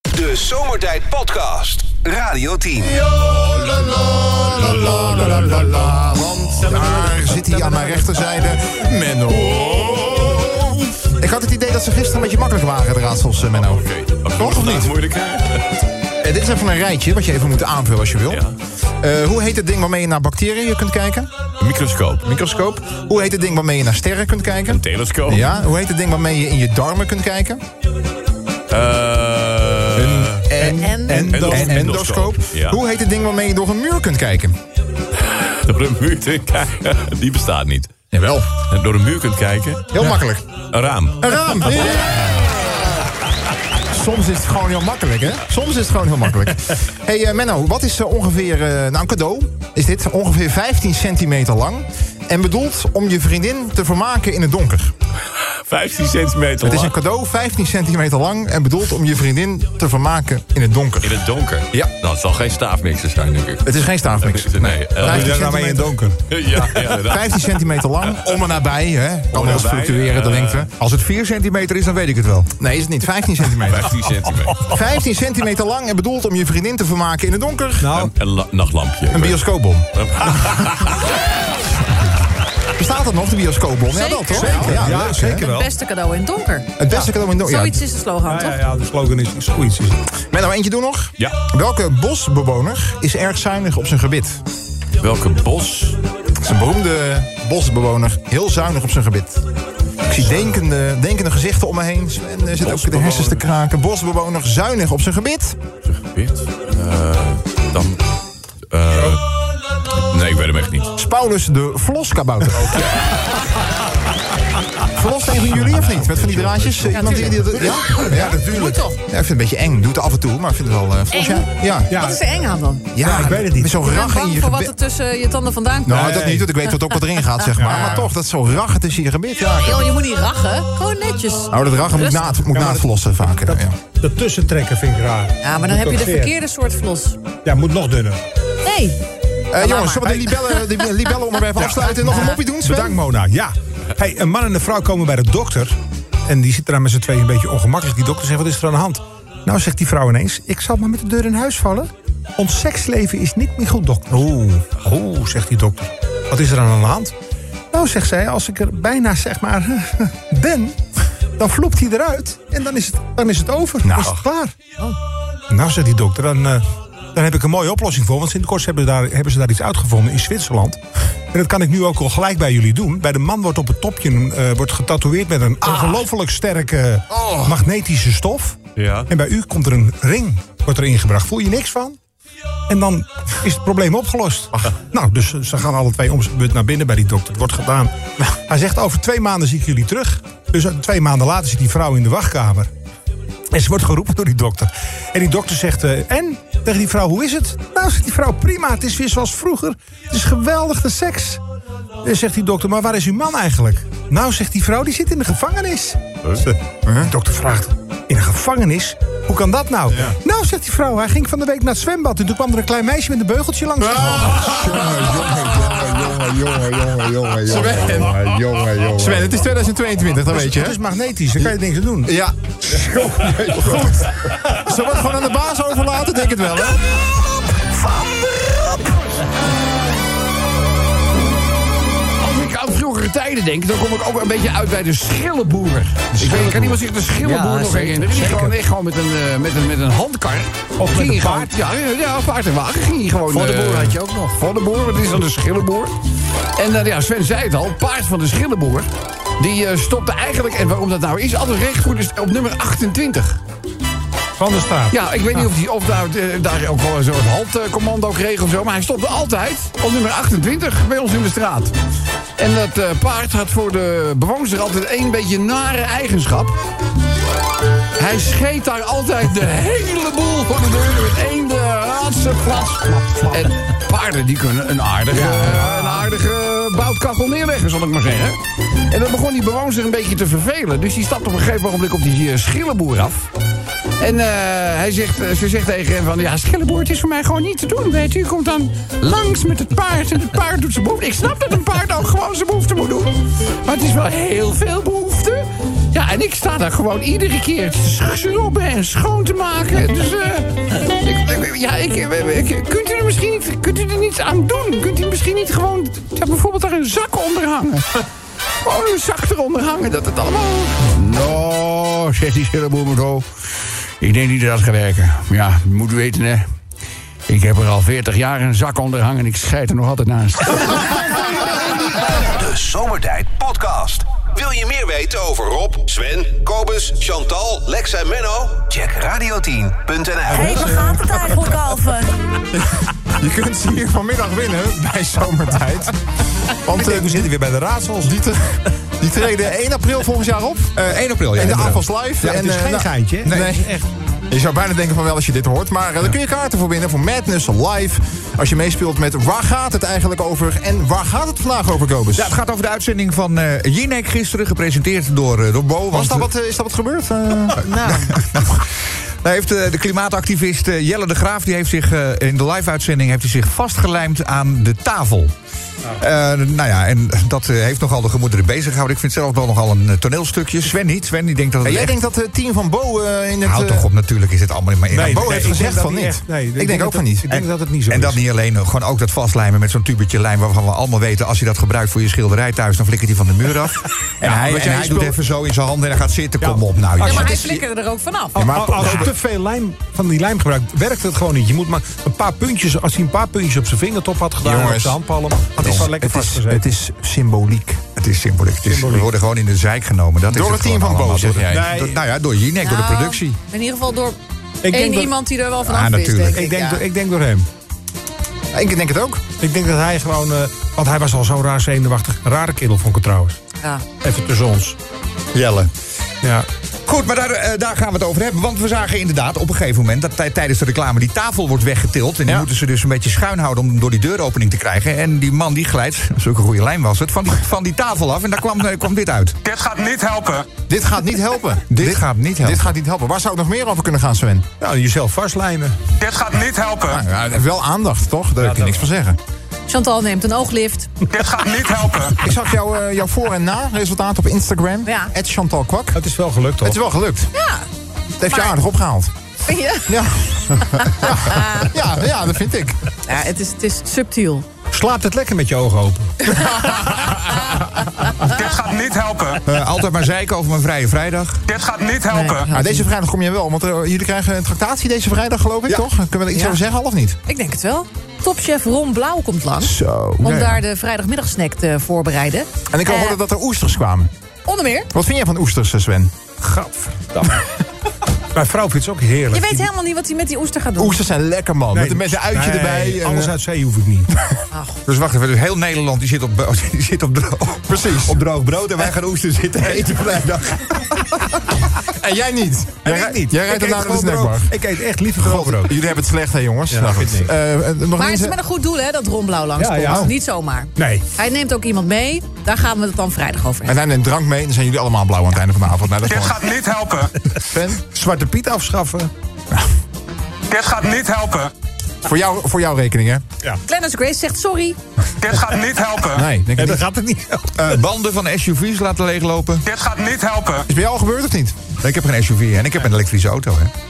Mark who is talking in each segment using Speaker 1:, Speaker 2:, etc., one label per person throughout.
Speaker 1: De Zomertijd Podcast. Radio 10.
Speaker 2: Want daar zit hij aan mijn rechterzijde. Menno. Ik had het idee dat ze gisteren een beetje makkelijk waren, de raadsels, eh, Menno.
Speaker 3: Oké, dat
Speaker 2: Toch of niet?
Speaker 3: moeilijker.
Speaker 2: Eh, dit is even een rijtje wat je even moet aanvullen als je wil.
Speaker 3: Ja.
Speaker 2: Eh, hoe heet het ding waarmee je naar bacteriën kunt kijken?
Speaker 3: Microscoop,
Speaker 2: Microscoop. Hoe heet het ding waarmee je naar sterren kunt kijken?
Speaker 3: telescoop.
Speaker 2: Ja, hoe heet het ding waarmee je in je darmen kunt kijken?
Speaker 3: Eh,
Speaker 2: En, en, en-
Speaker 3: endo-
Speaker 2: endoscoop.
Speaker 3: endoscoop. Ja.
Speaker 2: Hoe heet het ding waarmee je door een muur kunt kijken?
Speaker 3: door een muur te kijken, die bestaat niet.
Speaker 2: Jawel.
Speaker 3: En door een muur kunt kijken,
Speaker 2: Heel makkelijk.
Speaker 3: een raam.
Speaker 2: Een raam. Ja. Soms is het gewoon heel makkelijk, hè? Soms is het gewoon heel makkelijk. hey, eh, Menno, wat is eh, ongeveer... eh, nou, een cadeau is dit. Ongeveer 15 centimeter lang. En bedoeld om je vriendin te vermaken in het donker.
Speaker 3: 15 centimeter
Speaker 2: Het is
Speaker 3: lang.
Speaker 2: een cadeau, 15 centimeter lang. En bedoeld om je vriendin te vermaken in het donker.
Speaker 3: In het donker.
Speaker 2: Ja.
Speaker 3: Nou, het zal geen staafmixer zijn, denk ik.
Speaker 2: Het is geen staafmix.
Speaker 3: Nee, eh, doe je daar nou mee in het
Speaker 2: donker?
Speaker 3: ja, ja, inderdaad.
Speaker 2: 15 centimeter lang, om en nabij. Hè. Kan wel eens
Speaker 3: nabij,
Speaker 2: fluctueren, de
Speaker 3: eh,
Speaker 2: lengte.
Speaker 4: Als het 4 centimeter is, dan weet ik het wel.
Speaker 2: Nee, is het niet. 15 centimeter.
Speaker 3: 15 centimeter.
Speaker 2: 15 centimeter lang en bedoeld om je vriendin te vermaken in het donker.
Speaker 4: Nou,
Speaker 3: Een la- nachtlampje.
Speaker 2: Een bioscoopbom. Bestaat dat nog, de bioscoopbom? Ja, wel
Speaker 5: Zeker.
Speaker 2: toch?
Speaker 4: zeker.
Speaker 2: Ja,
Speaker 4: Ja,
Speaker 2: leuk, hè?
Speaker 4: zeker wel.
Speaker 5: Beste cadeau in het donker.
Speaker 2: Het beste cadeau in de... Ja.
Speaker 5: Zoiets is de slogan,
Speaker 4: Ja,
Speaker 5: toch?
Speaker 4: ja, ja, de slogan is, is zoiets. Is het.
Speaker 2: Menno, eentje doen nog?
Speaker 3: Ja.
Speaker 2: Welke bosbewoner is erg zuinig op zijn gebit?
Speaker 3: Welke bos?
Speaker 2: Het is een beroemde bosbewoner, heel zuinig op zijn gebit. Ik zie denkende, denkende gezichten om me heen. Sven eh, zit ook de
Speaker 3: Bosbewoner.
Speaker 2: hersens te kraken. Bosbewoner, zuinig op zijn gebit.
Speaker 3: Wit. Eh, dan... eh, nee, ik weet hem echt niet.
Speaker 2: Is Paulus de Vloskabouter ook. Vlos tegen jullie of niet? Met van die draadjes? Ja, Iemand die, die, dat- ja? ja, natuurlijk.
Speaker 5: Moet toch?
Speaker 2: Ja, ik vind het een beetje eng. Doe het af en toe, maar ik vind het wel eh Vlos. Ja, ja. ja.
Speaker 5: Wat is er eng aan dan? Ik
Speaker 4: Ja, ik weet het niet.
Speaker 2: Met zo'n
Speaker 5: ben
Speaker 2: rag in
Speaker 5: bang
Speaker 2: je
Speaker 5: voor wat er
Speaker 2: gebit.
Speaker 5: tussen je tanden vandaan komt.
Speaker 2: Nou, dat niet, want ik weet wat ook wat erin gaat, zeg maar. Maar toch, dat is zo'n raggen tussen je gebit. Ja,
Speaker 5: Joh, je moet niet rachen. Gewoon netjes.
Speaker 2: nou, dat raggen moet,
Speaker 5: Rustig.
Speaker 2: na, moet
Speaker 4: Ja,
Speaker 2: na
Speaker 4: maar
Speaker 2: het vlossen vaker. Ja. Eh,
Speaker 4: Dat tussentrekken vind ik raar.
Speaker 5: Ja, maar
Speaker 4: Moet
Speaker 5: dan heb je
Speaker 4: ook
Speaker 5: de
Speaker 4: weer.
Speaker 5: verkeerde soort vlos.
Speaker 4: Ja, moet nog dunner.
Speaker 5: Nee.
Speaker 2: Eh, jongens,
Speaker 5: maar.
Speaker 2: zullen we de libellen, die libellen om maar even afsluiten? en Nog een moppie doen, Sven?
Speaker 4: Bedankt, Mona. Ja. Hey, een man en een vrouw komen bij de dokter. En die zitten daar met z'n tweeën een beetje ongemakkelijk. Die dokter zegt, wat is er aan de hand? Nou, zegt die vrouw ineens, ik zal maar met de deur in huis vallen. Ons seksleven is niet meer goed, dokter. Oeh, oeh, zegt die dokter. Wat is er aan de hand? Nou, zegt zij, als ik er bijna, zeg maar, ben... dan floept hij eruit en dan is het, dan is het over. Dan is het klaar. Nou, zegt die dokter, dan, eh, dan heb ik een mooie oplossing voor. Want sinds kort hebben, ze daar- hebben ze daar iets uitgevonden in Zwitserland. En dat kan ik nu ook al gelijk bij jullie doen. Bij de man wordt op het topje eh, wordt getatoeëerd met een ongelooflijk sterke magnetische stof.
Speaker 3: Ja.
Speaker 4: En bij u komt er een ring wordt er ingebracht. Voel je niks van? En dan is het probleem opgelost. Nou, dus ze- ze gaan alle twee om zijn beurt naar binnen bij die dokter. Het wordt gedaan. Hij zegt, over twee maanden zie ik jullie terug. Dus twee maanden later zit die vrouw in de wachtkamer. En ze wordt geroepen door die dokter. En die dokter zegt, eh, en? Tegen die vrouw, hoe is het? Nou, zegt die vrouw, prima, het is weer zoals vroeger. Het is geweldig, de seks. En zegt die dokter, maar waar is uw man eigenlijk? Nou, zegt die vrouw, die zit in de gevangenis. De dokter vraagt, in de gevangenis? Hoe kan dat nou? Nou, zegt die vrouw, hij ging van de week naar het zwembad... en toen kwam er een klein meisje met een beugeltje langs.
Speaker 2: Sven. Sven, het is 2022, dat weet je.
Speaker 4: Het
Speaker 2: hè?
Speaker 4: is magnetisch, daar kan je niks aan doen.
Speaker 2: Ja. Goed. Zullen we het gewoon aan de baas overlaten? Denk het wel, hè?
Speaker 6: Als ik aan vroegere tijden denk, dan kom ik ook een beetje uit bij de schillenboer. Ik weet, kan iemand zich de schillenboer
Speaker 7: Ja,
Speaker 6: nog
Speaker 7: zeker,
Speaker 6: herinneren? Die
Speaker 7: zeker.
Speaker 6: gewoon echt gewoon met een, eh, met een, met een handkar.
Speaker 4: Of met
Speaker 6: Ging
Speaker 4: een
Speaker 6: hij gewoon-
Speaker 4: paard.
Speaker 6: Ja, ja, ja, paard en wagen ging hij gewoon.
Speaker 7: Voor de
Speaker 6: eh,
Speaker 7: boer had je ook nog.
Speaker 6: Van de boer, wat is dan de schillenboer? En eh, ja, Sven zei het al, paard van de schillenboer. Die eh, stopte eigenlijk, en waarom dat nou is, altijd recht voor de, op nummer 28.
Speaker 4: Van de staat.
Speaker 6: Ja, ik weet niet of, die, of daar, eh, daar ook wel een soort haltcommando kreeg of zo. Maar hij stopte altijd op nummer 28 bij ons in de straat. En dat eh, paard had voor de bewoonster altijd één beetje nare eigenschap. Hij scheet daar altijd de hele boel voor de deur met één de raadse flats. En paarden die kunnen een aardige, eh, een aardige boutkachel neerleggen, zal ik maar zeggen. En dan begon die bewoonster een beetje te vervelen. Dus die stapte op een gegeven ogenblik op die eh, schillenboer af. En eh, hij zegt, eh, ze zegt tegen hem van... Ja, schillenboer, het is voor mij gewoon niet te doen, weet u. U komt dan langs met het paard en het paard doet zijn behoefte. Ik snap dat een paard ook gewoon zijn behoefte moet doen. Maar het is wel heel veel behoefte.
Speaker 8: Ja, en ik sta daar gewoon iedere keer te sch- schrobben en schoon te maken. Dus eh, ik, ik- ja, ik, ik- ik- kunt u er misschien niet, kunt u er niets aan doen? Kunt u misschien niet gewoon ja, bijvoorbeeld daar een zak onder hangen? Gewoon een zak eronder hangen, dat het allemaal... Nou, zegt die schillenboemerdo. Ik denk niet dat dat gaat werken. Ja, moet u weten, hè. Ik heb er al 40 jaar een zak onder hangen en ik scheid er nog altijd naast.
Speaker 6: Eh,
Speaker 1: De Zomertijd Podcast. Wil je meer weten over Rob, Sven, Kobus, Chantal, Lex en Menno? Check radio10.nl.
Speaker 7: Hé, waar gaat het eigenlijk over?
Speaker 2: Je kunt ze hier vanmiddag winnen bij Zomertijd. Want eh,
Speaker 4: We zitten weer bij de raadsels.
Speaker 2: die, te- die treden 1 april volgend jaar op.
Speaker 6: Eh, 1 april, ja.
Speaker 2: In de
Speaker 6: inderdaad.
Speaker 2: AFAS Live.
Speaker 4: Oh Ja, het is
Speaker 2: eh,
Speaker 4: geen
Speaker 2: nou,
Speaker 4: geintje, hè?
Speaker 2: Nee,
Speaker 4: Nee,
Speaker 2: echt. Je zou bijna denken van wel als je dit hoort. Maar eh, daar kun je kaarten voor winnen voor Madness Live. Als je meespeelt met waar gaat het eigenlijk over... en waar gaat het vandaag over, Kobus?
Speaker 6: Ja, het gaat over de uitzending van eh Jinek gisteren, gepresenteerd door, eh, door Bo.
Speaker 2: Was
Speaker 6: want,
Speaker 2: dat wat, eh, is dat wat gebeurd? Eh,
Speaker 6: Daar heeft eh, de klimaatactivist eh, Jelle de Graaf... die heeft zich eh, in de live-uitzending heeft hij zich vastgelijmd aan de tafel. Eh, nou ja, en dat eh, heeft nogal de gemoederen bezig gehouden. Ik vind het zelf wel nogal een eh, toneelstukje. Sven niet. Sven die denkt dat het
Speaker 2: jij
Speaker 6: echt...
Speaker 2: denkt dat het team van Bo eh, in het...
Speaker 6: Houd
Speaker 2: eh,
Speaker 6: toch op, natuurlijk is dit allemaal maar in.
Speaker 2: Bo
Speaker 4: nee,
Speaker 2: heeft
Speaker 4: ik
Speaker 2: gezegd
Speaker 4: denk
Speaker 2: van
Speaker 4: dat
Speaker 2: niet.
Speaker 4: hij echt- nee,
Speaker 2: ik
Speaker 4: ik
Speaker 2: denk,
Speaker 4: denk
Speaker 2: ook
Speaker 4: dat-
Speaker 2: van niet.
Speaker 4: ik denk dat het niet zo
Speaker 6: en dat
Speaker 4: is.
Speaker 6: niet alleen, eh, gewoon ook dat vastlijmen met zo'n tubetje lijm... waarvan we allemaal weten, als je dat gebruikt voor je schilderij thuis... dan flikkert hij van de muur af. en hij,
Speaker 2: want
Speaker 6: en
Speaker 2: jij
Speaker 6: hij
Speaker 2: speelt-
Speaker 6: doet even zo in zijn handen en hij gaat zitten. Kom op nou.
Speaker 5: Ja,
Speaker 6: jongens.
Speaker 5: maar hij flikkerde er ook vanaf.
Speaker 4: Ja,
Speaker 2: maar-
Speaker 4: maar als je te veel lijm van die lijm gebruikt, werkt het gewoon niet. Je moet maar een paar puntjes, als hij een paar puntjes op zijn vingertop had gedaan,
Speaker 2: Jongens,
Speaker 4: op zijn handpalm, had hij wel lekker
Speaker 2: het, is,
Speaker 4: vastgezet.
Speaker 2: het is symboliek.
Speaker 6: Het is symboliek. Het is- we worden gewoon in de zeik genomen. Dat
Speaker 2: Door
Speaker 6: is
Speaker 2: het team
Speaker 6: gewoon
Speaker 2: van
Speaker 6: allemaal.
Speaker 2: Bo, zeg
Speaker 6: Door de-
Speaker 4: jij?
Speaker 6: door- nou ja, door Jinek, door de
Speaker 5: Nou,
Speaker 6: productie.
Speaker 5: In ieder geval door
Speaker 4: denk
Speaker 5: één
Speaker 4: dat-
Speaker 5: iemand die er wel van
Speaker 6: Ah,
Speaker 5: af wist,
Speaker 6: natuurlijk.
Speaker 5: denk ik.
Speaker 4: ik, denk,
Speaker 5: ja.
Speaker 4: door- ik denk door hem.
Speaker 2: Ik denk het ook.
Speaker 4: Ik denk dat hij gewoon, eh, want hij was al zo raar zenuwachtig. Rare kerel vond ik het trouwens.
Speaker 5: Ja.
Speaker 4: Even tussen ons.
Speaker 6: Jelle.
Speaker 4: Ja.
Speaker 6: Goed, maar daar, eh, daar gaan we het over hebben. Want we zagen inderdaad op een gegeven moment dat tij- tijdens de reclame die tafel wordt weggetild. En die
Speaker 2: Ja.
Speaker 6: moeten ze dus een beetje schuin houden om hem door die deuropening te krijgen. En die man die glijdt, zulke goede lijn was het, van die, van die tafel af. En daar kwam, eh, kwam dit uit.
Speaker 9: Dit gaat niet helpen.
Speaker 2: Dit gaat niet helpen.
Speaker 6: Dit, gaat niet helpen.
Speaker 2: Dit gaat niet helpen. Waar zou het nog meer over kunnen gaan, Sven?
Speaker 4: Nou, jezelf vastlijmen.
Speaker 9: Dit gaat niet helpen.
Speaker 2: Nou, ja, wel aandacht, toch? Daar kun je niks van zeggen.
Speaker 5: Chantal neemt een ooglift.
Speaker 9: Dit gaat niet helpen.
Speaker 2: Ik zag jou, eh, jouw voor- en na-resultaat op Instagram.
Speaker 5: Ja.
Speaker 2: Chantal Kwak.
Speaker 4: Het is wel gelukt
Speaker 2: Het
Speaker 4: toch?
Speaker 2: is wel gelukt.
Speaker 5: Ja,
Speaker 2: Het heeft je
Speaker 5: Maar-
Speaker 2: aardig opgehaald.
Speaker 5: vind je?
Speaker 2: Ja. ja. ja, ja, dat vind ik.
Speaker 5: Ja, het, is, het is subtiel.
Speaker 4: Slaapt het lekker met je ogen open?
Speaker 9: Dit gaat niet helpen.
Speaker 6: Eh, altijd maar zeiken over mijn vrije vrijdag.
Speaker 9: Dit gaat niet helpen.
Speaker 2: Nou, deze vrijdag kom je wel, want eh, jullie krijgen een tractatie deze vrijdag, geloof ik, toch? Kunnen we er iets
Speaker 5: Ja.
Speaker 2: over zeggen, al of niet?
Speaker 5: Ik denk het wel. Topchef Ron Blauw komt langs.
Speaker 2: Zo.
Speaker 5: Om
Speaker 2: Ja, ja.
Speaker 5: daar de vrijdagmiddagsnack te voorbereiden.
Speaker 2: En ik
Speaker 5: Eh,
Speaker 2: hoorde dat er oesters kwamen.
Speaker 5: Onder meer.
Speaker 2: Wat vind jij van oesters, eh, Sven?
Speaker 4: Gadverdamme. Mijn vrouw vindt het ook heerlijk.
Speaker 5: Je weet helemaal niet wat hij met die oester gaat doen.
Speaker 2: Oesters zijn lekker, man. met, een- met een uitje
Speaker 4: nee,
Speaker 2: erbij. eh,
Speaker 4: Alles uit zee hoef ik niet.
Speaker 6: Dus wacht even, dus heel Nederland die zit op, bo- die zit op, droog,
Speaker 2: Precies.
Speaker 6: op droog brood. En wij gaan oesters zitten eten vrijdag.
Speaker 2: En jij niet. jij rijdt- Jij rijdt
Speaker 4: Ik
Speaker 2: hem
Speaker 4: eet
Speaker 2: naar de
Speaker 4: gewoon
Speaker 2: snackbar.
Speaker 4: brood. Ik eet echt liever gewoon
Speaker 2: God,
Speaker 4: brood.
Speaker 2: jullie hebben het slecht, hè, jongens?
Speaker 4: Ja,
Speaker 2: nou,
Speaker 4: vind
Speaker 2: goed.
Speaker 4: ik.
Speaker 2: Eh, eh, nog
Speaker 5: Maar het
Speaker 2: eens,
Speaker 5: is met een goed doel, hè, dat Ron Blauw langs
Speaker 4: Ja, ja.
Speaker 5: komt. Niet zomaar.
Speaker 4: Nee.
Speaker 5: Hij neemt ook iemand mee. Daar gaan we het dan vrijdag over
Speaker 2: En
Speaker 5: hebben.
Speaker 2: hij neemt drank mee en dan zijn jullie allemaal blauw aan het einde van de avond. Nou, dat is
Speaker 9: Dit
Speaker 2: gewoon
Speaker 9: gaat niet helpen.
Speaker 2: Sven,
Speaker 4: Zwarte Piet afschaffen.
Speaker 9: Dit gaat niet helpen.
Speaker 2: voor, jou, voor jouw rekening, hè?
Speaker 5: Glennis Grace zegt sorry.
Speaker 9: Dit gaat niet helpen.
Speaker 2: Nee, denk ik
Speaker 4: En dat
Speaker 2: niet.
Speaker 4: gaat het niet.
Speaker 6: Eh, banden van SUV's laten leeglopen.
Speaker 9: Dit gaat niet helpen.
Speaker 2: Is bij jou al gebeurd of niet?
Speaker 6: Ik heb geen SUV en ik heb een elektrische auto. Hè.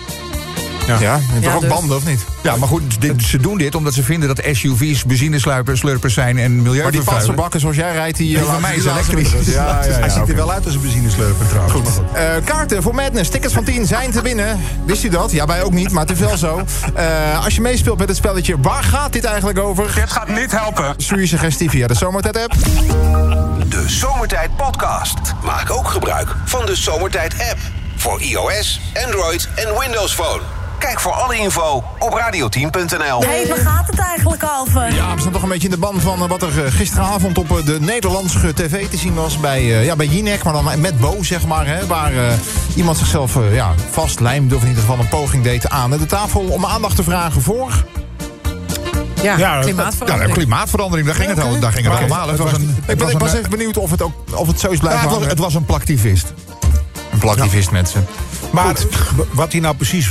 Speaker 2: Ja, je hebt
Speaker 5: Ja,
Speaker 2: toch ook
Speaker 5: dus.
Speaker 2: banden, of niet?
Speaker 6: Ja, maar goed, dit- ze doen dit omdat ze vinden dat SUV's benzineslurpers zijn en
Speaker 2: Maar die
Speaker 6: milieuvervuilers.
Speaker 2: valse bakken zoals jij rijdt, die... eh,
Speaker 6: Die van
Speaker 2: laten
Speaker 6: mij
Speaker 2: die
Speaker 6: is
Speaker 2: laten we
Speaker 6: elektrisch.
Speaker 2: met rust. Ja, ja, ja.
Speaker 4: Hij ziet
Speaker 2: oké.
Speaker 4: er wel uit als een benzineslurper trouwens. maar Goed.
Speaker 2: Eh, kaarten voor Madness, tickets van 10 zijn te winnen. Wist u dat? Ja, wij ook niet, maar het is wel zo. Eh, als je meespeelt met het spelletje, waar gaat dit eigenlijk over?
Speaker 9: Dit gaat niet helpen.
Speaker 2: Stuur je suggestie via de Zomertijd-app.
Speaker 1: De Zomertijd Podcast. Maak ook gebruik van de Zomertijd app. Voor iOS, Android en Windows Phone. Kijk voor alle info op radio10.nl.
Speaker 7: Hé,
Speaker 5: eh,
Speaker 7: waar gaat het eigenlijk over?
Speaker 2: Ja, we staan toch een beetje in de ban van eh, wat er eh, gisteravond op eh, de Nederlandse tv te zien was. Bij, eh, ja, bij Jinek, maar dan met Bo, zeg maar. Hè, waar eh, iemand zichzelf eh, ja, vastlijmde of in ieder geval een poging deed aan de tafel. Om aandacht te vragen voor...
Speaker 5: Ja,
Speaker 4: Ja, dat-
Speaker 6: Ja, de
Speaker 2: nou,
Speaker 5: klimaatverandering.
Speaker 6: klimaatverandering, daar ging het, al- daar ging het
Speaker 4: Oké.
Speaker 6: allemaal. Het was een,
Speaker 2: Ik,
Speaker 6: het
Speaker 2: ben,
Speaker 6: was
Speaker 2: ik was
Speaker 6: een,
Speaker 2: even benieuwd of het, ook, of het zo is
Speaker 6: ja,
Speaker 2: blijven
Speaker 6: het was,
Speaker 2: hangen.
Speaker 6: het was een plaktivist.
Speaker 2: een plaktivist met ze.
Speaker 4: Maar w- wat hij nou precies